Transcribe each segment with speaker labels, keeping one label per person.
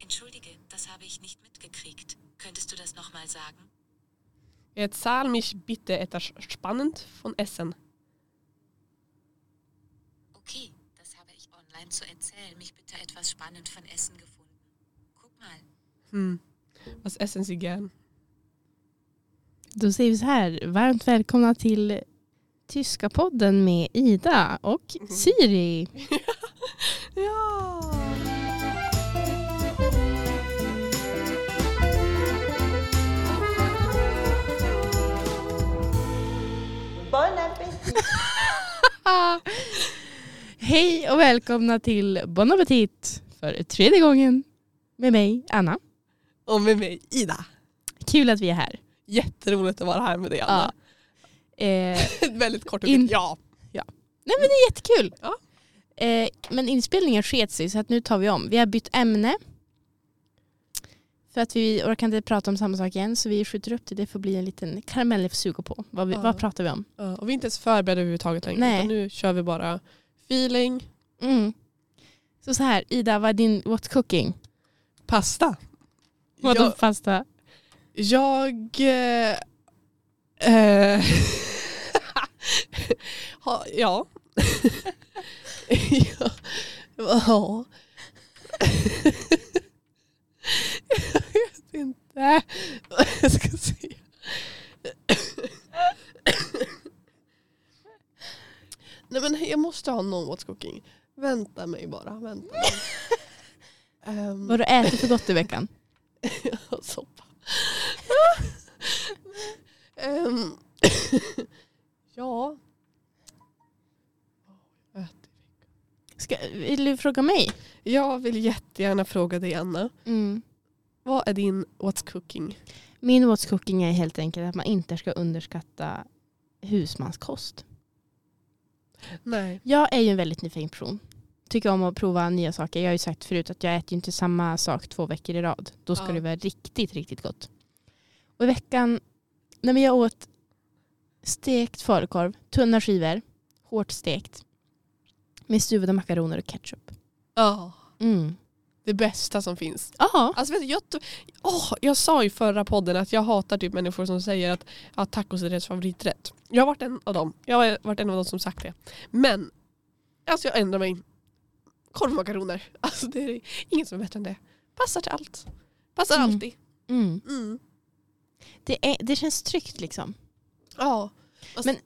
Speaker 1: Entschuldige, das habe ich nicht mitgekriegt. Könntest du das nochmal sagen?
Speaker 2: Erzähl mich bitte etwas spannend von Essen.
Speaker 1: Okay, das habe ich online zu erzählen. Mich bitte etwas spannend von Essen gefunden. Guck mal.
Speaker 2: Hm. Was essen Sie gern?
Speaker 3: Då säger vi så här, varmt välkomna till Tyska podden med Ida och
Speaker 2: Mhm.
Speaker 3: Siri.
Speaker 2: Ja!
Speaker 4: Bon appétit!
Speaker 3: Hej och välkomna till Bon Appetit för tredje gången med mig, Anna.
Speaker 2: Och med mig Ida.
Speaker 3: Kul att vi är här.
Speaker 2: Jätteroligt att vara här med dig Anna.
Speaker 3: Eh,
Speaker 2: Ett Väldigt kort och
Speaker 3: In-
Speaker 2: In- Ja.
Speaker 3: Nej men det är jättekul.
Speaker 2: Ja.
Speaker 3: Eh, men inspelningen sket sig så att nu tar vi om. Vi har bytt ämne. För att vi orkar inte prata om samma sak igen så vi skjuter upp det. Det får bli en liten karamell jag får suga på. Vad, vi,
Speaker 2: Ja.
Speaker 3: vad pratar vi om?
Speaker 2: Ja, Och vi är inte ens förberedda överhuvudtaget längre.
Speaker 3: Nej.
Speaker 2: Utan nu kör vi bara feeling,
Speaker 3: Mm. Så så här, Ida, vad är din what's cooking?
Speaker 2: pasta.
Speaker 3: Vadå
Speaker 2: Jag-
Speaker 3: pasta?
Speaker 2: Jag eh, eh, ha, ja. ja. Ja. Jag vet inte vad jag ska säga. Nej men jag måste ha någon what's cooking. Vänta mig bara, vänta mig. Ehm,
Speaker 3: Vad du äter för gott i veckan?
Speaker 2: och soppa. Ehm, ja.
Speaker 3: Ska, vill du fråga mig? Mm.
Speaker 2: Jag vill jättegärna fråga dig Anna. Vad är din what's cooking?
Speaker 3: Min what's cooking är helt enkelt att man inte ska underskatta husmanskost.
Speaker 2: Nej.
Speaker 3: Jag är ju en väldigt nyfiken person. Tycker om att prova nya saker. Jag har ju sagt förut att jag äter ju inte samma sak två veckor i rad. Då ska
Speaker 2: Ja.
Speaker 3: det vara riktigt, riktigt gott. Och i veckan, när jag åt stekt falukorv, tunna skivor, hårt stekt, med stuvade makaroner och ketchup.
Speaker 2: Ja.
Speaker 3: Mm.
Speaker 2: Det bästa som finns.
Speaker 3: Ja.
Speaker 2: Alltså vet du, jag, oh, jag sa i förra podden att jag hatar typ människor som säger att ja, tacos är deras favoriträtt. Jag har varit en av dem. Jag har varit en av dem som sagt det. Men alltså jag ändrar mig. Korvmakaroner. Alltså det är inget som är bättre än det. Passar till allt. Passar
Speaker 3: Mm.
Speaker 2: alltid.
Speaker 3: Mm.
Speaker 2: Mm.
Speaker 3: Det, är, det känns tryggt liksom.
Speaker 2: Ja.
Speaker 3: Men-
Speaker 2: men...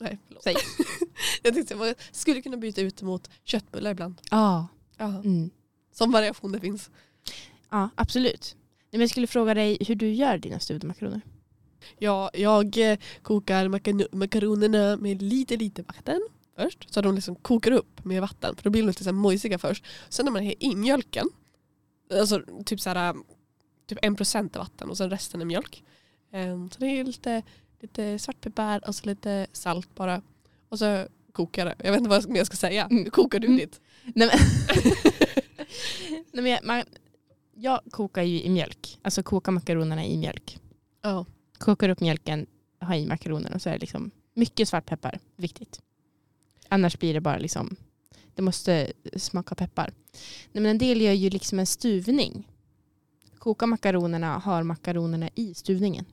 Speaker 2: Nej, förlåt.
Speaker 3: Säg.
Speaker 2: jag tänkte jag skulle kunna byta ut det mot köttbullar ibland.
Speaker 3: Ja.
Speaker 2: Ja.
Speaker 3: Mm.
Speaker 2: Som variation det finns.
Speaker 3: Ja, absolut. Nej, men jag skulle fråga dig hur du gör dina stuvade makaroner.
Speaker 2: Ja, jag eh, kokar makano- makaronerna med lite, lite vatten först. Så de liksom kokar upp med vatten. För då blir de lite så här mojsiga först. Sen när man häller i mjölken, alltså typ så här, eh, typ 1% vatten och sen resten är mjölk. Ehm, Så det är lite, lite svartpeppar och så lite salt bara. Och så kokar det. Jag vet inte vad mer jag ska säga.
Speaker 3: Mm.
Speaker 2: Hur kokar du
Speaker 3: Mm.
Speaker 2: ditt?
Speaker 3: Nej, men Nej, men jag, man, jag kokar ju i mjölk. Alltså kokar makaronerna i mjölk.
Speaker 2: Ja.
Speaker 3: Kokar upp mjölken, har i makaronerna och så är det liksom mycket svartpeppar. Viktigt. Annars blir det bara liksom, det måste smaka peppar. Nej, men en del gör ju liksom en stuvning. Kokar makaronerna, har makaronerna i stuvningen.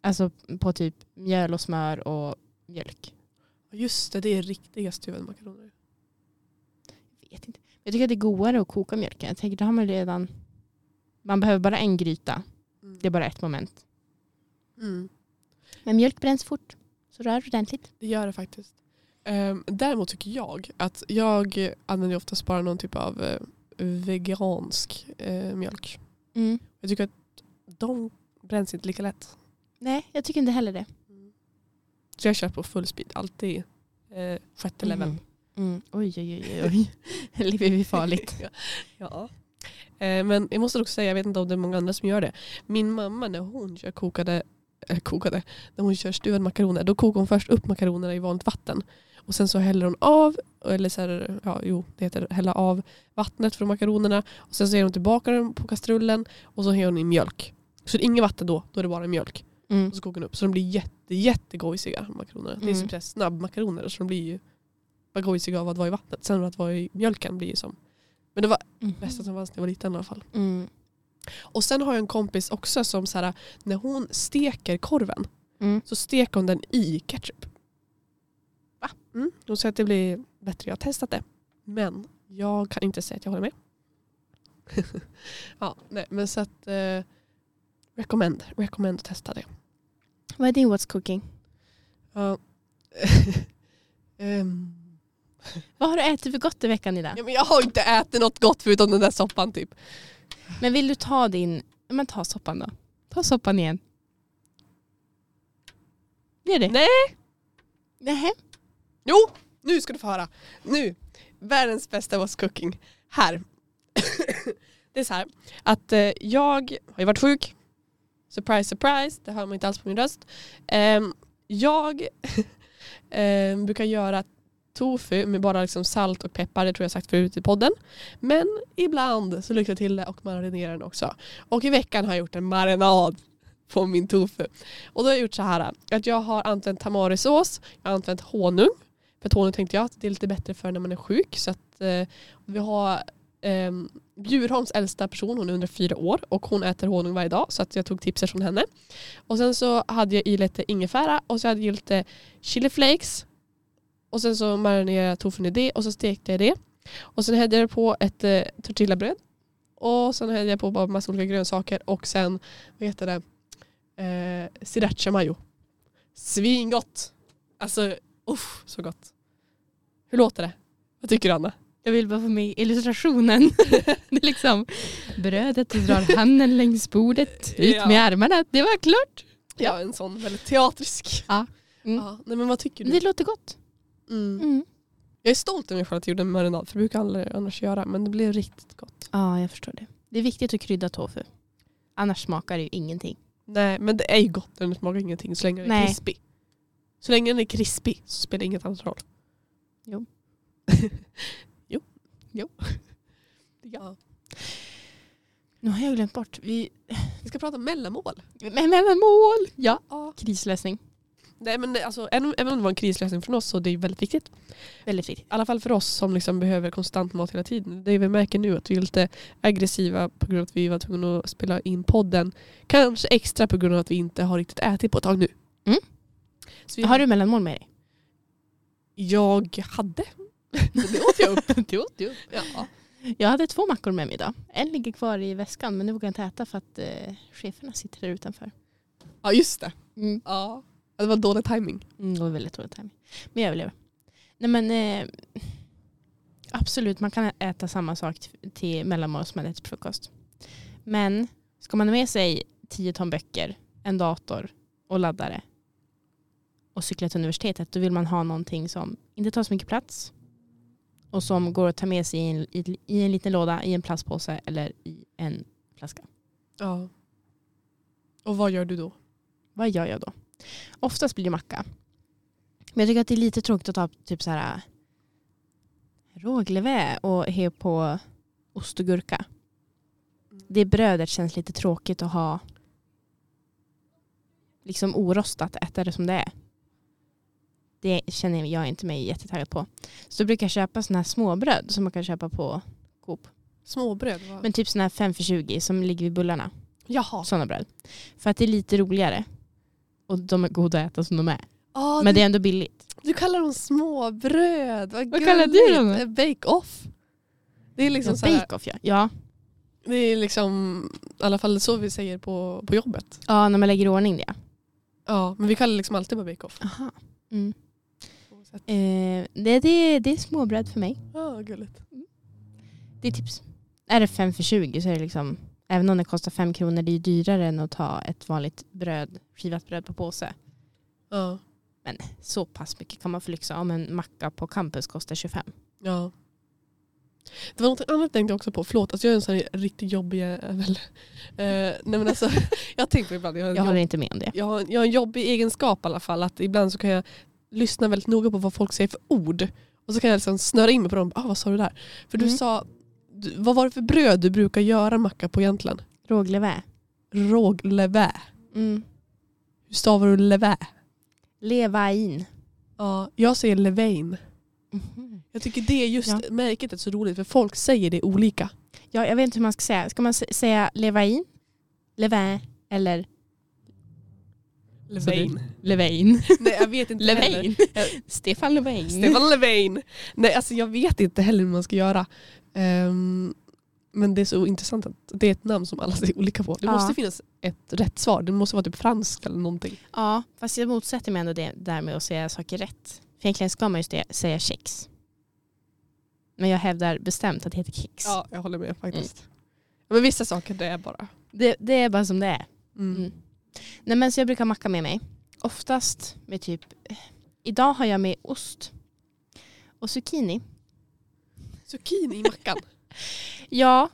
Speaker 3: Alltså på typ mjöl och smör och mjölk.
Speaker 2: Just det, det är riktiga stuvade makaroner.
Speaker 3: vet inte. Jag tycker att det är godare att koka mjölken. Jag tänker, då har man redan... Man behöver bara en gryta.
Speaker 2: Mm.
Speaker 3: Det är bara ett moment.
Speaker 2: Mm.
Speaker 3: Men mjölk bränns fort. Så rör ordentligt.
Speaker 2: Det gör det faktiskt. Ehm, däremot tycker jag att jag använder ju oftast bara någon typ av eh, vegansk eh, mjölk.
Speaker 3: Mm.
Speaker 2: Jag tycker att de bränns inte lika lätt.
Speaker 3: Nej, jag tycker inte heller det.
Speaker 2: Så jag kör på full speed, alltid eh, sjätte level.
Speaker 3: Mm. Mm. Oj, oj, oj, oj. Här lever vi farligt.
Speaker 2: ja. ja. Eh, men jag måste också säga, jag vet inte om det är många andra som gör det. Min mamma när hon kör kokade, eh, kokade, när hon kör stuvade makaroner, då kokar hon först upp makaronerna i vanligt vatten. Och sen så häller hon av, eller så här, ja jo det heter hälla av vattnet från makaronerna. Och sen så ger hon tillbaka dem på kastrullen och så häller hon i mjölk. Så det är inget vatten då, då är det bara mjölk.
Speaker 3: Mm.
Speaker 2: Och så kokar hon upp. Så de blir jätte, jättegojsiga makaronerna. Det är
Speaker 3: Mm.
Speaker 2: typ så här snabbmakaroner så de blir ju bara gojsiga av att vara i vattnet. Sen att vara i mjölken blir ju som Men det var
Speaker 3: Mm.
Speaker 2: det bästa som fanns när jag var liten i alla fall.
Speaker 3: Mm.
Speaker 2: Och sen har jag en kompis också som så här, när hon steker korven
Speaker 3: Mm.
Speaker 2: så steker hon den i ketchup.
Speaker 3: Va?
Speaker 2: Mm. Hon säger att det blir bättre. Jag har testat det. Men jag kan inte säga att jag håller med. ja, nej, men så att eh, recommend, recommend att testa det.
Speaker 3: Vad är din What's Cooking?
Speaker 2: Ja. Ehm,
Speaker 3: Vad har du ätit för gott i veckan Ida?
Speaker 2: ja, men jag har inte ätit något gott förutom den där soppan typ.
Speaker 3: Men vill du ta din... Men ta soppan då. Ta soppan igen. Gör det.
Speaker 2: Nej.
Speaker 3: Nähä.
Speaker 2: Jo, nu ska du få höra. Nu, världens bästa was cooking. Här. det är så här att eh, jag har ju varit sjuk. Surprise, surprise. Det hör man inte alls på min röst. Ehm, jag ehm, brukar göra tofu med bara liksom salt och peppar. Det tror jag sagt förut i podden. Men ibland så lyckas jag till det och marinerar den också. Och i veckan har jag gjort en marinad på min tofu. Och då har jag gjort så här att jag har använt tamarisås jag har använt honung. För att honung tänkte jag att det är lite bättre för när man är sjuk. Så att, eh, vi har eh, Bjurholms äldsta person, hon är 104 år och hon äter honung varje dag. Så att jag tog tipset från henne. Och sen så hade jag i lite ingefära och så hade jag lite chili flakes. Och sen så marinerade jag tofun i det och så stekte jag det. Och sen hällde jag på ett eh, tortillabröd. Och sen hällde jag på bara massa olika grönsaker och sen, vad heter det, eh, sriracha mayo. Svingott! Alltså, uff, så gott. Hur låter det? Vad tycker du Anna?
Speaker 3: Jag vill bara få med illustrationen. det är liksom brödet, du drar handen längs bordet, ut
Speaker 2: Ja.
Speaker 3: med armarna. Det var klart.
Speaker 2: Ja, en sån väldigt teatrisk.
Speaker 3: Ja. Mm.
Speaker 2: Ja, nej, men vad tycker du?
Speaker 3: Det låter gott.
Speaker 2: Mm.
Speaker 3: Mm.
Speaker 2: Jag är stolt över mig själv att jag gjorde en marinad, för det brukar jag aldrig annars göra. Men det blev riktigt gott.
Speaker 3: Ja, jag förstår det. Det är viktigt att krydda tofu. Annars smakar det ju ingenting.
Speaker 2: Nej, men det är ju gott när den smakar ingenting så länge den är
Speaker 3: Nej.
Speaker 2: krispig. Så länge den är krispig så spelar inget annat roll.
Speaker 3: Jo.
Speaker 2: jo.
Speaker 3: Jo.
Speaker 2: Ja.
Speaker 3: Nu har jag glömt bort. Vi...
Speaker 2: Vi ska prata mellanmål.
Speaker 3: Men, men, men mål! Ja.
Speaker 2: Ja.
Speaker 3: Krislösning.
Speaker 2: Nej, men alltså, även även om det var en krislösning från oss så är det är väldigt viktigt.
Speaker 3: Väldigt viktigt.
Speaker 2: I alla fall för oss som liksom behöver konstant mat hela tiden. Det vi märker nu är att vi är lite aggressiva på grund av att vi var tvungna att spela in podden. Kanske extra på grund av att vi inte har riktigt ätit på ett tag nu.
Speaker 3: Mm.
Speaker 2: Så vi,
Speaker 3: Har du mellanmål med dig?
Speaker 2: Jag hade. Men det åt jag upp.
Speaker 3: det åt du.
Speaker 2: Ja.
Speaker 3: Jag hade två mackor med mig idag. En ligger kvar i väskan men nu vågar jag inte äta för att eh, cheferna sitter där utanför.
Speaker 2: ja, just det.
Speaker 3: Mm.
Speaker 2: Ja. Det var dålig timing.
Speaker 3: Mm, det var väldigt dålig timing. Men jag överlever. Nej men eh, absolut man kan äta samma sak t- till mellanmål som man äter till frukost. Men ska man ha med sig 10 ton böcker, en dator och laddare och cykla till universitetet då vill man ha någonting som inte tar så mycket plats och som går att ta med sig i en, i, i en liten låda, i en plastpåse eller i en flaska.
Speaker 2: Ja. Och vad gör du då?
Speaker 3: vad gör jag då? Oftast blir det macka. Men jag tycker att det är lite tråkigt att ta typ så här äh, råglevé och he på ost och gurka. Det brödet känns lite tråkigt att ha liksom orostat, äta det som det är. Det känner jag inte mig jättetaggad på. Så då brukar jag köpa sådana här småbröd som man kan köpa på Coop.
Speaker 2: Småbröd? Men,
Speaker 3: Men typ sådana här 5 för 20 som ligger vid bullarna
Speaker 2: jaha.
Speaker 3: sådana bröd. För att det är lite roligare. Och de är goda att äta som de är.
Speaker 2: Ah,
Speaker 3: Men
Speaker 2: du,
Speaker 3: det är ändå billigt.
Speaker 2: du kallar dem småbröd. Vad,
Speaker 3: Vad kallar du
Speaker 2: gulligt.
Speaker 3: dem då?
Speaker 2: Eh, Bake-off. Det är liksom
Speaker 3: Ja,
Speaker 2: så här,
Speaker 3: Bake-off ja. ja.
Speaker 2: Det är liksom i alla fall så vi säger på, på jobbet.
Speaker 3: Ja, när man lägger i ordning det.
Speaker 2: Ja, men vi kallar det liksom alltid på bake-off.
Speaker 3: Aha. Mm.
Speaker 2: Så att-
Speaker 3: Eh, det, det, det är småbröd för mig.
Speaker 2: Ja, vad gulligt.
Speaker 3: Det är tips. Är det 5 för 20 så är det liksom, även om det kostar 5 kronor, det är ju dyrare än att ta ett vanligt bröd, skivat bröd på påse.
Speaker 2: Ja,
Speaker 3: Men så pass mycket kan man få lyxa. Om en macka på campus kostar 25.
Speaker 2: ja. Det var något annat jag tänkte också på. Förlåt, alltså jag är en sån här riktigt jobbig jävel. Eh, nej men alltså, jag tänker ibland, jag har, en
Speaker 3: Jag
Speaker 2: jobb,
Speaker 3: håller inte med om det.
Speaker 2: jag, har, en- jag har en jobbig egenskap i alla fall. Att ibland så kan jag lyssna väldigt noga på vad folk säger för ord. Och så kan jag liksom snöra in mig på dem. Ah, vad sa du där? För du
Speaker 3: Mm.
Speaker 2: sa, du, vad var det för bröd du brukar göra macka på egentligen?
Speaker 3: Råglevé.
Speaker 2: Råglevé.
Speaker 3: Mm.
Speaker 2: Hur stavar du levé?
Speaker 3: Levain.
Speaker 2: Ja, jag säger levain.
Speaker 3: Mhm.
Speaker 2: Jag tycker det är just
Speaker 3: Ja.
Speaker 2: märket är så roligt för folk säger det olika.
Speaker 3: Ja, jag vet inte hur man ska säga. Ska man s- säga Levain? Levain? Eller Levain. Levain?
Speaker 2: Nej jag vet inte heller.
Speaker 3: Alltså, Levain? Stefan Levain.
Speaker 2: Stefan Levain. Nej alltså jag vet inte heller hur man ska göra. Ehm, men det är så intressant att det är ett namn som alla säger olika på. Det
Speaker 3: Ja.
Speaker 2: måste finnas ett rätt svar. Det måste vara typ franskt eller någonting.
Speaker 3: Ja, fast jag motsätter mig ändå det där med att säga saker rätt. För egentligen ska man ju stä- säga kex. Men jag hävdar bestämt att det heter kex.
Speaker 2: Ja jag håller med faktiskt.
Speaker 3: Mm.
Speaker 2: Men vissa saker det är bara.
Speaker 3: Det, det är bara som det är.
Speaker 2: Mm.
Speaker 3: Mm. Nej men så jag brukar macka med mig. Oftast med typ, idag har jag med ost och zucchini.
Speaker 2: Zucchini i mackan.
Speaker 3: Ja,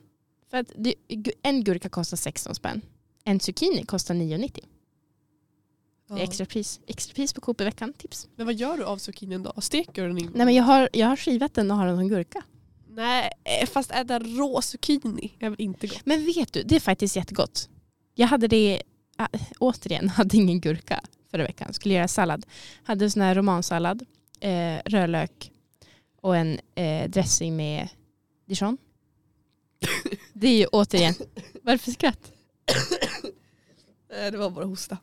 Speaker 3: för att det, en gurka kostar 16 spänn. En zucchini kostar 9,90. Det är
Speaker 2: Ja.
Speaker 3: extra pris. Extra pris på Coop i veckan, tips.
Speaker 2: Men vad gör du av zucchinin då? Steker du den in?
Speaker 3: Nej men jag har, jag har skivat den och har den som gurka.
Speaker 2: Nej, eh, fast äta rå zucchini är väl inte gott?
Speaker 3: Men vet du, det är faktiskt jättegott. Jag hade det, äh, återigen, hade ingen gurka förra veckan. Skulle göra sallad. Hade sån här romansallad, eh, rödlök och en eh, dressing med dijon. Det är ju återigen, varför skratt?
Speaker 2: Nej, Eh, det var bara hosta.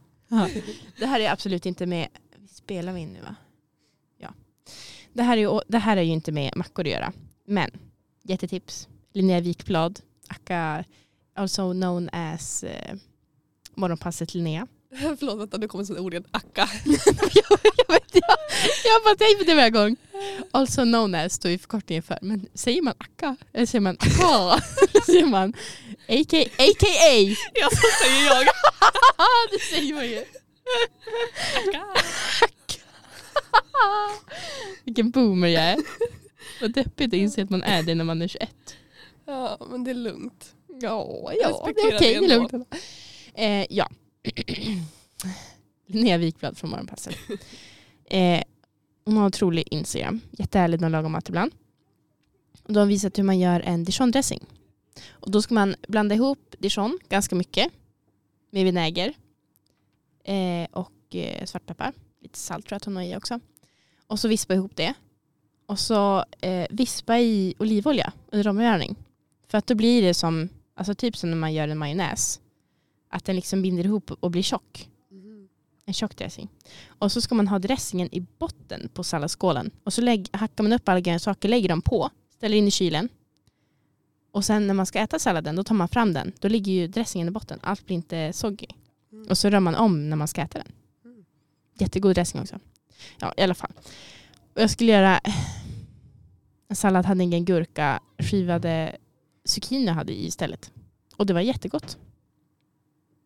Speaker 3: Det här är absolut inte med, spelar vi in nu va? Ja. Det här är ju, det här är ju inte med mackor att göra. Men, jättetips. Linnea Wikblad, Akka, also known as eh, Morgonpasset Linnea.
Speaker 2: Förlåt, vänta, nu kommer sådana ord igen. Akka.
Speaker 3: jag, jag, vet, jag, jag har bara tänkt på det varje gång. Also known as står ju förkortningen för. Men säger man Akka? Eller säger man Akka? Eller säger man AK, AKA?
Speaker 2: Ja, så säger jag.
Speaker 3: det säger man ju. Vilken boomer jag är. Vad deppigt att inse att man är det när man är 21.
Speaker 2: Ja, men det är lugnt.
Speaker 3: Ja,
Speaker 2: Jag
Speaker 3: ja det är
Speaker 2: respekterar
Speaker 3: okej.
Speaker 2: det
Speaker 3: Det är
Speaker 2: ändå.
Speaker 3: lugnt. Eh, ja. Linnea Wikblad från Morgonpasset. Eh, hon har otrolig Instagram. Jättehärlig när hon lagar mat ibland. Och då har hon visat hur man gör en dijondressing. Och då ska man blanda ihop dijon ganska mycket med vinäger eh, och eh, svartpeppar. Lite salt tror jag att hon har i också. Och så vispa ihop det. Och så eh, vispa i olivolja under omrörning. För att då blir det som, alltså typ som när man gör en majonnäs. Att den liksom binder ihop och blir tjock. En tjock dressing. Och så ska man ha dressingen i botten på salladsskålen. Och så lägg, hackar man upp alla grönsaker, lägger dem på, ställer in i kylen. Och sen när man ska äta salladen, då tar man fram den. Då ligger ju dressingen i botten. Allt blir inte soggy.
Speaker 2: Mm.
Speaker 3: Och så rör man om när man ska äta den.
Speaker 2: Mm.
Speaker 3: Jättegod dressing också. Ja, i alla fall. Och jag skulle göra en sallad, hade ingen gurka, skivade zucchini jag hade i istället. Och det var jättegott.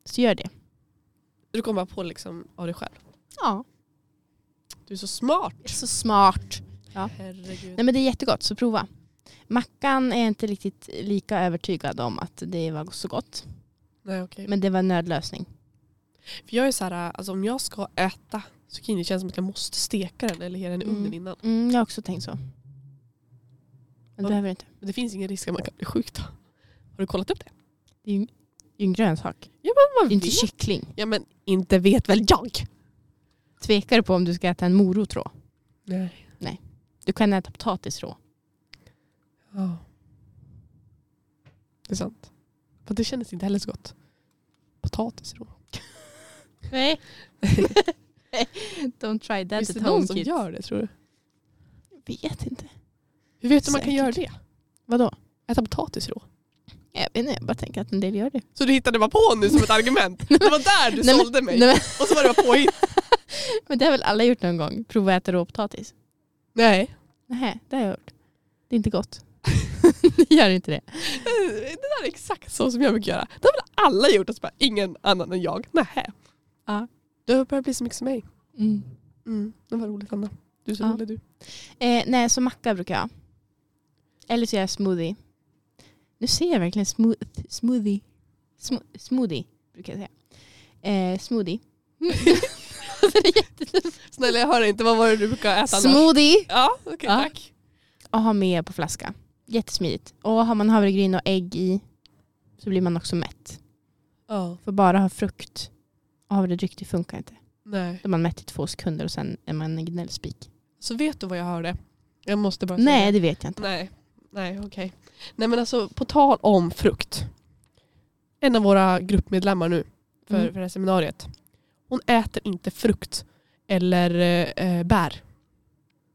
Speaker 3: Så gör det.
Speaker 2: Du kommer bara på liksom av dig själv.
Speaker 3: Ja.
Speaker 2: Du är så smart.
Speaker 3: Så smart. Ja.
Speaker 2: Herregud.
Speaker 3: Nej men det är jättegott, så prova. Mackan är jag inte riktigt lika övertygad om att det var så gott.
Speaker 2: Nej, okej.
Speaker 3: Men det var en nödlösning.
Speaker 2: För jag är så här, alltså, om jag ska äta zucchini känns det som att jag måste steka den eller ge den i
Speaker 3: Mm.
Speaker 2: ugnen innan.
Speaker 3: Mm, jag har också tänkt så. Men det
Speaker 2: Ja.
Speaker 3: behöver inte.
Speaker 2: Men det finns ingen risk att man kan bli sjuk då. Har du kollat upp det?
Speaker 3: Det är ju det är ju en grönsak.
Speaker 2: Man
Speaker 3: Det är inte kyckling.
Speaker 2: Ja men inte vet väl jag?
Speaker 3: Tvekar du på om du ska äta en morot rå?
Speaker 2: Nej.
Speaker 3: Du kan äta potatis rå.
Speaker 2: Ja. Det är sant. Men det kändes inte heller så gott. Potatis då.
Speaker 3: Nej. Don't try that
Speaker 2: Finns det
Speaker 3: at home
Speaker 2: någon som
Speaker 3: kids.
Speaker 2: gör det tror du?
Speaker 3: Jag vet inte.
Speaker 2: Hur vet du man kan
Speaker 3: Säkert.
Speaker 2: göra det?
Speaker 3: Vadå?
Speaker 2: Äta potatis då?
Speaker 3: Jag vet inte, jag bara tänker att en del gör det.
Speaker 2: Så du hittade bara på nu som ett argument? Det var där du sålde mig?
Speaker 3: Nej, men,
Speaker 2: Och så var det bara påhitt?
Speaker 3: men det har väl alla gjort någon gång? Prova att äta råpotatis.
Speaker 2: Nej.
Speaker 3: Nej, det har jag gjort. Det är inte gott. det gör inte det.
Speaker 2: Eh, Det där är exakt så som jag brukar göra. Det har väl alla gjort och så bara ingen annan än jag. Nej.
Speaker 3: Ja.
Speaker 2: Det börjar bli så mycket som mig.
Speaker 3: Mm.
Speaker 2: Mm. Det var roligt Anna. Du är så
Speaker 3: Ja.
Speaker 2: rolig du.
Speaker 3: Eh, nej, så macka brukar jag. Eller så gör jag smoothie. Nu ser jag verkligen smo- smoothie. Smo- smoothie brukar jag säga. Eh, smoothie. Alltså, det är jätte-
Speaker 2: Snälla jag hör inte, vad var det du brukar äta annars?
Speaker 3: smoothie.
Speaker 2: Ja, okej
Speaker 3: Ja.
Speaker 2: tack.
Speaker 3: Och ha med på flaska. Jättesmidigt. Och har man havregryn och ägg i så blir man också mätt.
Speaker 2: Ja.
Speaker 3: För bara ha frukt och havredryck det funkar inte.
Speaker 2: Nej.
Speaker 3: Då är man mätt i två sekunder och sen är man en gnällspik.
Speaker 2: Så vet du vad jag hörde? Jag måste bara säga
Speaker 3: Nej, det vet jag inte.
Speaker 2: Nej, nej okej. Nej men alltså på tal om frukt. En av våra gruppmedlemmar nu för,
Speaker 3: Mm.
Speaker 2: för det här seminariet. Hon äter inte frukt eller eh, bär.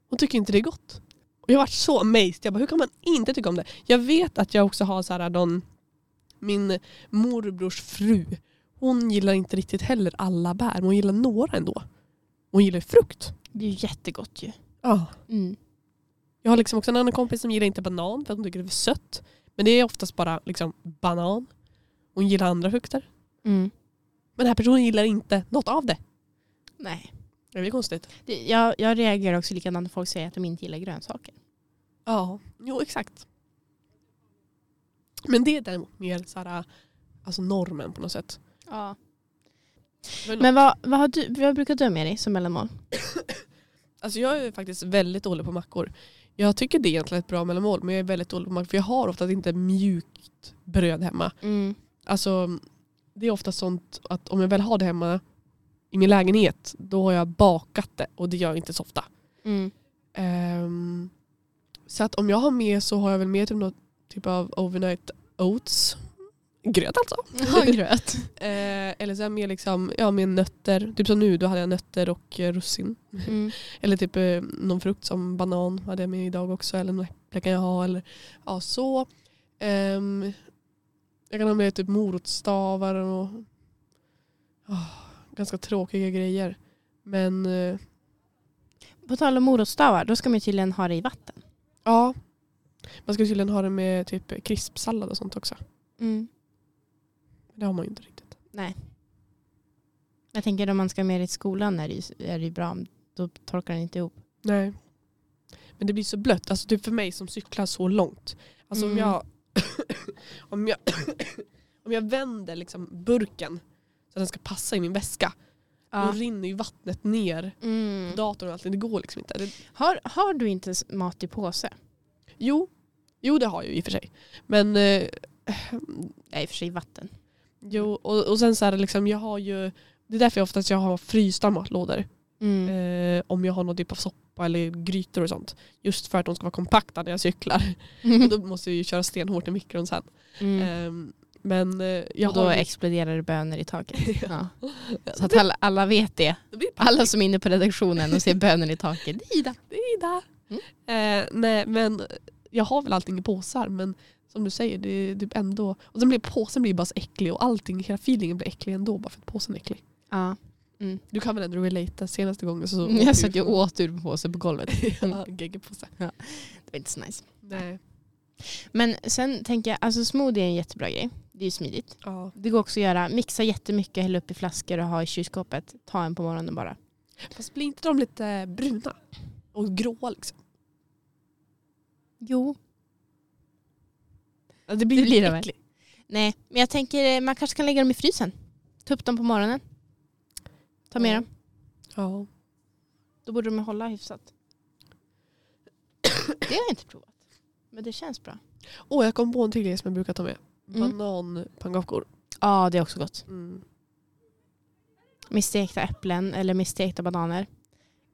Speaker 2: Hon tycker inte det är gott. Och jag har varit så amazed. Jag bara, hur kan man inte tycka om det? Jag vet att jag också har så här, någon, min morbrors fru. Hon gillar inte riktigt heller alla bär, men hon gillar några ändå. Hon gillar ju frukt.
Speaker 3: Det är ju jättegott ju.
Speaker 2: Ja.
Speaker 3: Mm.
Speaker 2: Jag har liksom också en annan kompis som gillar inte banan för att hon tycker det är för sött. Men det är oftast bara liksom banan. Hon gillar andra frukter.
Speaker 3: Mm.
Speaker 2: Men den här personen gillar inte något av det.
Speaker 3: Nej.
Speaker 2: Det är konstigt.
Speaker 3: Det, jag, jag reagerar också likadant när folk säger att de inte gillar grönsaker.
Speaker 2: Ja, jo exakt. Men det är däremot mer så här, alltså normen på något sätt.
Speaker 3: Ja.
Speaker 2: Men,
Speaker 3: Men vad, vad, har du, vad brukar du ha med dig som mellanmål?
Speaker 2: alltså jag är faktiskt väldigt dålig på mackor. Jag tycker det är egentligen ett bra mellanmål men jag är väldigt dålig på mackor för jag har oftast inte mjukt bröd hemma.
Speaker 3: Mm.
Speaker 2: Alltså det är ofta sånt att om jag väl har det hemma i min lägenhet då har jag bakat det och det gör jag inte så ofta.
Speaker 3: Mm.
Speaker 2: Ehm, så att om jag har med så har jag väl med typ någon typ av overnight oats. Gröt alltså.
Speaker 3: Ja, gröt.
Speaker 2: Eh, eller så har jag med, liksom, ja, med nötter. Typ som nu, då hade jag nötter och eh, russin.
Speaker 3: Mm.
Speaker 2: Eller typ eh, någon frukt som banan hade jag med idag också. Eller någon äpple kan jag ha. Eller, ja, så. Ehm, jag kan ha med typ morotsstavar och ah, ganska tråkiga grejer. Men eh,
Speaker 3: På tal om morotsstavar, då ska man ju tydligen ha det i vatten.
Speaker 2: ja, man ska tydligen ha det med typ krispsallad och sånt också.
Speaker 3: Mm.
Speaker 2: Men det har man ju inte riktigt.
Speaker 3: Jag tänker om man ska ha med det i skolan är det ju, är det ju bra, om- då torkar den inte ihop.
Speaker 2: Nej. Men det blir så blött. Alltså typ för mig som cyklar så långt. Alltså om
Speaker 3: Mm.
Speaker 2: jag om jag, om jag vänder liksom burken så att den ska passa i min väska. Då rinner ju vattnet ner.
Speaker 3: Mm.
Speaker 2: Datorn och allting. Det går liksom inte. Det,
Speaker 3: Har, har du inte s- mat i påse?
Speaker 2: jo, jo, det har jag ju i och för sig. Men eh,
Speaker 3: Nej, i och för sig vatten.
Speaker 2: jo, och, och sen så här liksom jag har ju det är därför jag oftast jag har frysta matlådor.
Speaker 3: Mm.
Speaker 2: Eh, om jag har någon typ av soppa eller grytor och sånt. Just för att de ska vara kompakta när jag cyklar. Och då måste jag ju köra stenhårt i mikron sen.
Speaker 3: Mm.
Speaker 2: Ehm, Men eh, jag
Speaker 3: Och då
Speaker 2: har...
Speaker 3: exploderar det bönor i taket. Ja. Så
Speaker 2: Så
Speaker 3: att alla, alla vet det.
Speaker 2: det blir panik.
Speaker 3: Alla som är inne på redaktionen och ser bönor i taket. det är Ida.
Speaker 2: Ida. Eh, nej men jag har väl allting i påsar men som du säger det är typ ändå. Och sen blir påsen blir bara så äcklig och allting, hela feelingen blir äcklig ändå bara för att påsen är äcklig.
Speaker 3: Ja.
Speaker 2: Du kan väl ändå relata senaste gången så...
Speaker 3: Jag satt ju och åt ur en påse på golvet.
Speaker 2: Ja, geggepåse.
Speaker 3: Det var inte så nice.
Speaker 2: Nej.
Speaker 3: Men sen tänker jag, alltså smoothie är en jättebra grej. Det är ju smidigt.
Speaker 2: Ja.
Speaker 3: Det går också att göra, mixa jättemycket, hälla upp i flaskor och ha i kylskåpet. Ta en på morgonen bara.
Speaker 2: Fast blir inte de lite bruna? Och gråa liksom?
Speaker 3: Jo.
Speaker 2: Ja, det
Speaker 3: Det blir
Speaker 2: lite
Speaker 3: det väl.
Speaker 2: äckligt.
Speaker 3: Nej, men jag tänker eh, man kanske kan lägga dem i frysen. Ta upp dem på morgonen. Ta med
Speaker 2: Ja.
Speaker 3: dem.
Speaker 2: Ja.
Speaker 3: Då borde de hålla hyfsat. Det har jag inte provat. Men det känns bra.
Speaker 2: Åh jag kom på en till grej som jag brukar ta med.
Speaker 3: Mm.
Speaker 2: Bananpannkakor.
Speaker 3: Ja, det är också gott.
Speaker 2: Mm.
Speaker 3: Med stekta äpplen eller med stekta bananer.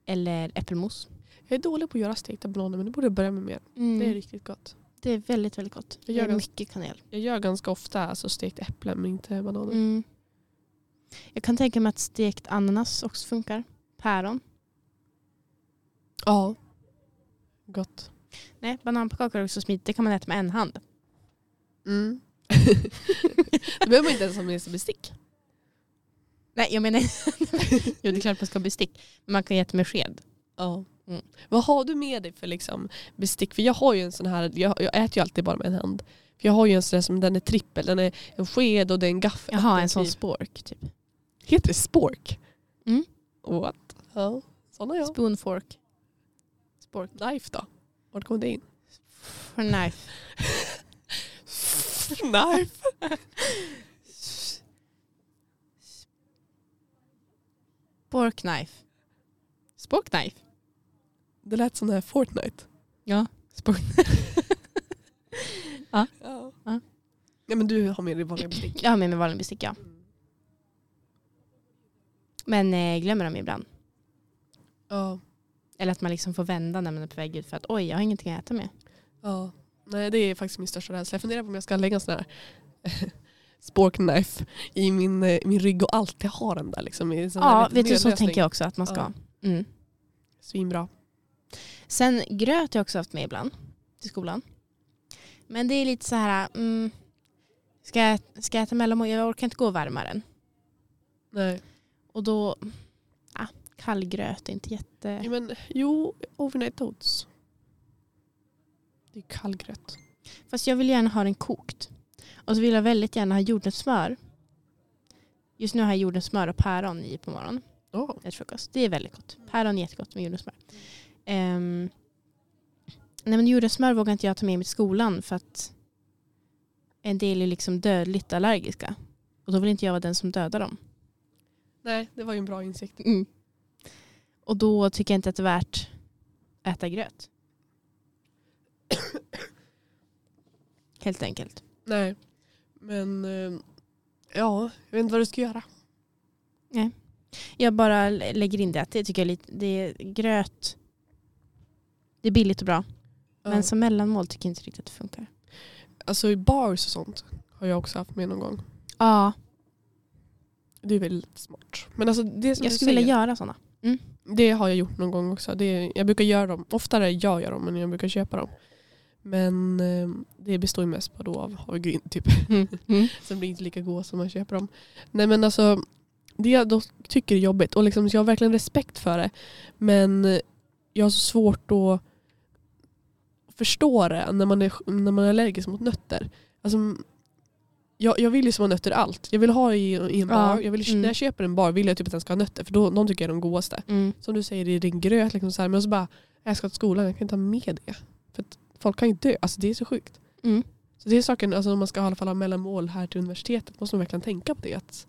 Speaker 3: Eller äppelmos.
Speaker 2: Jag är dålig på att göra stekta bananer men det borde jag börja med mer.
Speaker 3: Mm.
Speaker 2: Det är riktigt gott.
Speaker 3: Det är väldigt, väldigt gott.
Speaker 2: Jag gör
Speaker 3: det är
Speaker 2: ganska-
Speaker 3: mycket kanel.
Speaker 2: Jag gör ganska ofta alltså, stekt äpple men inte bananer.
Speaker 3: Mm. Jag kan tänka mig att stekt ananas också funkar. Päron.
Speaker 2: Ja. Gott.
Speaker 3: Nej, bananpannkakor är också smidigt. Det kan man äta med en hand.
Speaker 2: Mm. det behöver man inte ens ha med sig bestick.
Speaker 3: Nej, jag menar... jo, det är klart man ska ha bestick. Men man kan ju äta med sked.
Speaker 2: Ja.
Speaker 3: Mm.
Speaker 2: Vad har du med dig för liksom, bestick? För jag har ju en sån här, jag, jag äter ju alltid bara med en hand. För jag har ju en sån här som den är trippel, den är en sked och det är en gaffel.
Speaker 3: Jaha, en sån
Speaker 2: Typ.
Speaker 3: spork typ.
Speaker 2: Heter det spork?
Speaker 3: Mm.
Speaker 2: What? Ja, sån har jag.
Speaker 3: Spoon fork. Spork.
Speaker 2: Knife då? Vart kom det in?
Speaker 3: For knife.
Speaker 2: Knife?
Speaker 3: Spork knife. Spork knife.
Speaker 2: Det lät som den här Fortnite.
Speaker 3: Ja. Spork.
Speaker 2: Ja.
Speaker 3: Ja.
Speaker 2: Nej men du har med dig vanliga bestick.
Speaker 3: Jag har med mig vanlig bestick ja. Men eh, glömmer dem ibland.
Speaker 2: Ja.
Speaker 3: Eller att man liksom får vända när man är på väg ut för att oj, jag har ingenting att äta med.
Speaker 2: Ja. Nej, det är faktiskt min största rädsla. Jag funderar på om jag ska lägga en sån här sporkknife i min, eh, min rygg och alltid ha den där. Liksom, i en sån här
Speaker 3: Ja,
Speaker 2: liten
Speaker 3: vet du, så
Speaker 2: nödlösning.
Speaker 3: tänker jag också att man ska. Mm.
Speaker 2: Svinbra.
Speaker 3: Sen gröt har jag också haft med ibland till skolan. Men det är lite så här, mm, ska, jag, ska jag äta mellanmål? Jag orkar inte gå varmare än.
Speaker 2: Nej.
Speaker 3: Och då, ah, kallgröt är inte
Speaker 2: Ja,
Speaker 3: jätte...
Speaker 2: men, jo, overnight oats. Det är kallgröt.
Speaker 3: Fast jag vill gärna ha den kokt. Och så vill jag väldigt gärna ha jordnötssmör. Just nu har jag jordnötssmör och päron i på morgonen.
Speaker 2: Oh.
Speaker 3: ett frukost. Det är väldigt gott. Päron är jättegott med jordnötssmör. Um, nej men jordnötssmör vågar inte jag ta med mig till skolan för att en del är liksom dödligt allergiska. Och då vill inte jag vara den som dödar dem.
Speaker 2: Nej, det var ju en bra insikt.
Speaker 3: Och då tycker jag inte att det är värt att äta gröt. Helt enkelt.
Speaker 2: Nej. Men eh, ja, jag vet inte vad du ska göra.
Speaker 3: Jag bara lä- lägger in det att det tycker jag är lite, det är gröt. Det är billigt och bra.
Speaker 2: Ja.
Speaker 3: Men som mellanmål tycker jag inte riktigt att det funkar.
Speaker 2: Alltså i bars och sånt har jag också haft med någon gång.
Speaker 3: Ja,
Speaker 2: Det är väldigt smart. Men alltså det som
Speaker 3: jag
Speaker 2: du
Speaker 3: skulle vilja
Speaker 2: säger,
Speaker 3: göra sådana.
Speaker 2: det har jag gjort någon gång också. Det, jag brukar göra dem, oftare jag gör dem än jag brukar köpa dem. Men eh, det består ju mest bara då av havregryn typ.
Speaker 3: Mm.
Speaker 2: Sen blir det inte lika goda som man köper dem. Nej men alltså, det jag då tycker är jobbigt och liksom, så jag har verkligen respekt för det. Men jag har så svårt att förstå det när man är, när man är allergisk mot nötter. Alltså, jag, jag vill ju som ha nötter i allt. Jag vill ha i, i en
Speaker 3: Ja,
Speaker 2: bar. Jag vill,
Speaker 3: mm.
Speaker 2: När jag köper en bar vill jag typ att den ska ha nötter för då, de tycker jag är de godaste.
Speaker 3: Mm.
Speaker 2: Som du säger i din gröt, liksom så här, men så bara, jag ska till skolan, jag kan inte ha med det. För att folk kan ju dö, alltså det är så sjukt.
Speaker 3: Mm.
Speaker 2: Så det är saken, alltså om man ska i alla fall ha mellanmål här till universitetet måste man verkligen tänka på det. Att,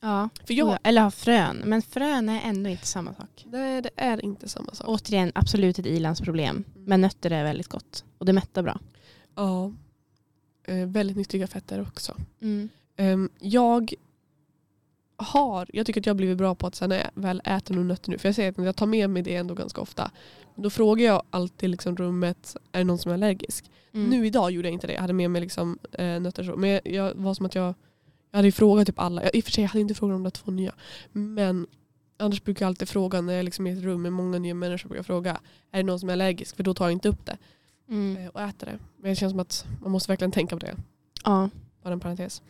Speaker 3: Ja.
Speaker 2: för jag,
Speaker 3: Eller ha frön. Men frön är ändå inte samma sak.
Speaker 2: nej det är inte samma sak.
Speaker 3: Återigen, absolut ett i-landsproblem. Men nötter är väldigt gott. Och det mättar bra.
Speaker 2: ja, eh, väldigt nyttiga fetter också.
Speaker 3: Mm.
Speaker 2: Ehm, jag har, jag tycker att jag har blivit bra på att sen när jag väl äter några nötter nu, för jag säger att jag tar med mig det ändå ganska ofta. Då frågar jag alltid liksom rummet, är det någon som är allergisk?
Speaker 3: Mm.
Speaker 2: Nu idag gjorde jag inte det. Jag hade med mig liksom, eh, nötter. och så. Men jag, jag var som att jag, jag hade ju frågat typ alla. Jag, I och för sig jag hade inte frågat de där två nya. Men annars brukar jag alltid fråga när jag liksom är i ett rum med många nya människor. Brukar jag fråga är det någon som är allergisk? För då tar jag inte upp det
Speaker 3: Mm.
Speaker 2: eh, och äter det. Men det känns som att man måste verkligen tänka på det.
Speaker 3: Ja.
Speaker 2: Bara en parentes.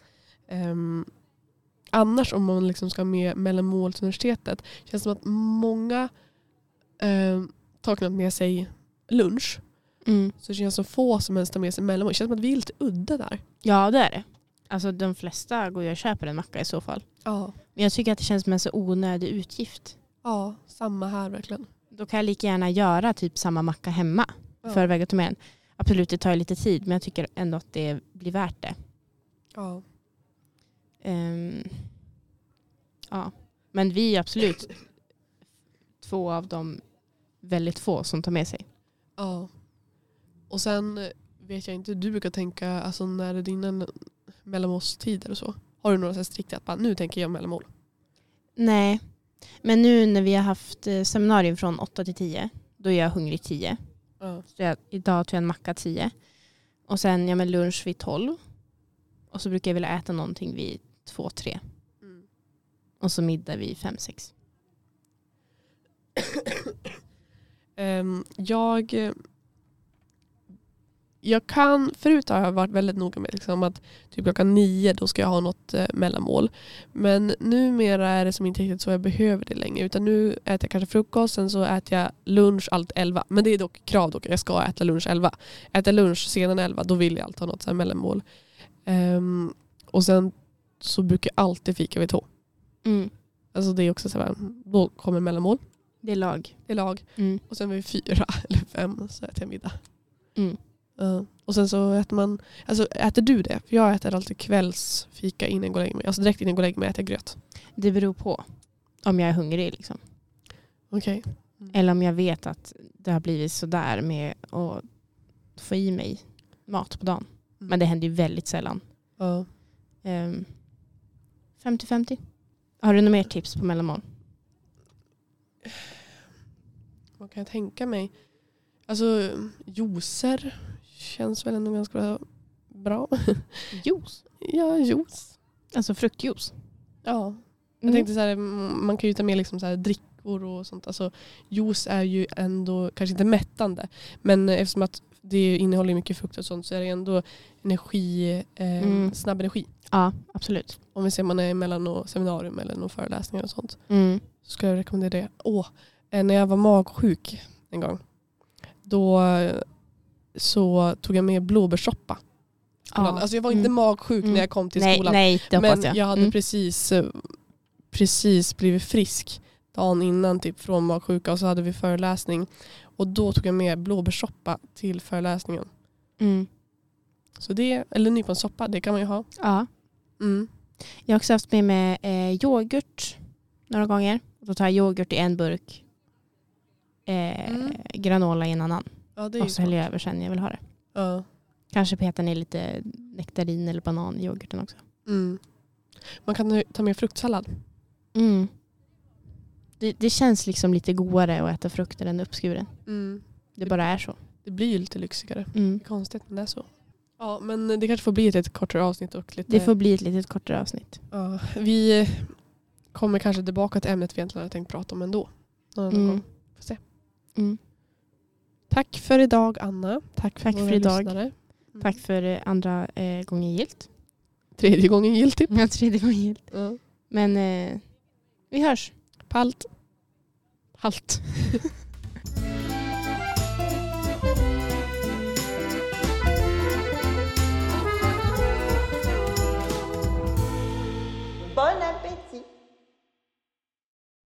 Speaker 2: Ehm, annars om man liksom ska med mellanmål till universitetet. Känns som att många um, tar knappt med sig lunch.
Speaker 3: Mm.
Speaker 2: Så det känns som få som ens tar med sig mellanmål. Det känns som att vi är lite udda där.
Speaker 3: ja, det är det. Alltså de flesta går ju och köper en macka i så fall.
Speaker 2: Ja.
Speaker 3: Men jag tycker att det känns som en så onödig utgift.
Speaker 2: Ja, samma här verkligen.
Speaker 3: Då kan jag lika gärna göra typ samma macka hemma.
Speaker 2: Ja.
Speaker 3: För väg och ta med den. Absolut, det tar ju lite tid. Men jag tycker ändå att det blir värt det.
Speaker 2: Ja.
Speaker 3: Ehm, ja. Men vi är absolut två av de väldigt få som tar med sig.
Speaker 2: ja. Och sen vet jag inte, du brukar tänka alltså när det är dina mellanmålstider och så. Har du några så här strikta att bara, nu tänker jag mellanmål?
Speaker 3: Nej, men nu när vi har haft eh, seminarium från 8 till 10, då är jag hungrig 10.
Speaker 2: Ja.
Speaker 3: Så jag, idag tog jag en macka 10. Och sen ja, men lunch vid 12. Och så brukar jag vilja äta någonting vid 2-3.
Speaker 2: Mm.
Speaker 3: Och så middag vid 5-6.
Speaker 2: Ehm, jag, eh, jag kan, förut har jag varit väldigt noga med liksom att typ klockan nio då ska jag ha något eh, mellanmål. Men numera är det som inte riktigt så jag behöver det längre. Utan nu äter jag kanske frukost, sen så äter jag lunch allt elva. Men det är dock krav dock, jag ska äta lunch elva. Äter lunch senare elva, då vill jag alltid ha något så här mellanmål. Ehm, och sen så brukar jag alltid fika vid två.
Speaker 3: Mm.
Speaker 2: Alltså det är också så här, då kommer mellanmål,
Speaker 3: Det är lag.
Speaker 2: det är lag.
Speaker 3: Mm.
Speaker 2: Och sen vid fyra eller fem så äter jag middag.
Speaker 3: Mm.
Speaker 2: Ja. och sen så äter man, alltså äter du det? För jag äter alltid kvällsfika innan jag går och lägger mig. Alltså direkt innan jag går och lägger mig äter jag gröt.
Speaker 3: Det beror på om jag är hungrig. Liksom.
Speaker 2: Okej.
Speaker 3: Mm. Eller om jag vet att det har blivit sådär med att få i mig mat på dagen. Men det händer ju väldigt sällan.
Speaker 2: Ja.
Speaker 3: Ehm, 50-50. Har du några mer tips på mellanmål?
Speaker 2: Vad kan jag tänka mig. Alltså juicer känns väl ändå ganska bra. bra.
Speaker 3: Juice?
Speaker 2: Ja, juice.
Speaker 3: Alltså fruktjuice.
Speaker 2: Ja. Jag
Speaker 3: Mm.
Speaker 2: tänkte så här, mm, man kan ju ta med liksom så här drickor och sånt. Alltså, juice är ju ändå kanske inte mättande men eh, eftersom att det innehåller mycket frukt och sånt så är det ändå energi, eh,
Speaker 3: Mm.
Speaker 2: snabb energi.
Speaker 3: Ja, absolut.
Speaker 2: Om vi ser man är mellan något seminarium eller någon föreläsningar och sånt
Speaker 3: Mm.
Speaker 2: så ska jag rekommendera det. Åh, eh, när jag var magsjuk en gång då eh, så tog jag med blåbärssoppa.
Speaker 3: Ja.
Speaker 2: Alltså jag var inte
Speaker 3: Mm.
Speaker 2: magsjuk
Speaker 3: Mm.
Speaker 2: när jag kom till
Speaker 3: nej,
Speaker 2: skolan.
Speaker 3: nej, det hoppas
Speaker 2: men
Speaker 3: jag.
Speaker 2: jag, hade
Speaker 3: Mm.
Speaker 2: precis, eh, precis blivit frisk dagen innan typ, från magsjuka och så hade vi föreläsning. Och då tog jag med blåbärssoppa till föreläsningen.
Speaker 3: Mm.
Speaker 2: Så det, eller nyponsoppa, det kan man ju ha.
Speaker 3: Ja.
Speaker 2: Mm.
Speaker 3: Jag har också haft med mig eh, yoghurt några gånger. Då tar jag yoghurt i en burk, eh,
Speaker 2: Mm.
Speaker 3: granola i en annan
Speaker 2: Ja, det är ju
Speaker 3: och så
Speaker 2: så.
Speaker 3: häller jag över sen när jag vill ha det.
Speaker 2: Ja.
Speaker 3: Kanske petar ner lite nektarin eller banan i yoghurten också.
Speaker 2: Mm. Man kan ju ta med fruktsallad.
Speaker 3: Mm. Det, det känns liksom lite godare att äta frukter än uppskuren. Det bara är så.
Speaker 2: Det blir ju lite lyxigare.
Speaker 3: Mm.
Speaker 2: Det är konstigt men det är så. Ja men det kanske får bli ett lite kortare avsnitt och lite...
Speaker 3: Det Mm. får bli ett litet kortare avsnitt.
Speaker 2: ja, vi kommer kanske tillbaka till ämnet vi egentligen hade tänkt prata om ändå. Någon annan
Speaker 3: Mm.
Speaker 2: gång. Får se.
Speaker 3: Mm.
Speaker 2: Tack för idag Anna. Tack för,
Speaker 3: Tack
Speaker 2: våra
Speaker 3: för idag.
Speaker 2: lyssnare. Mm.
Speaker 3: Tack för eh, andra eh, gången gilt.
Speaker 2: Tredje gången giltigt.
Speaker 3: Ja, tredje gången gilt.
Speaker 2: Ja.
Speaker 3: Men eh, vi hörs.
Speaker 2: Palt.
Speaker 3: Halt.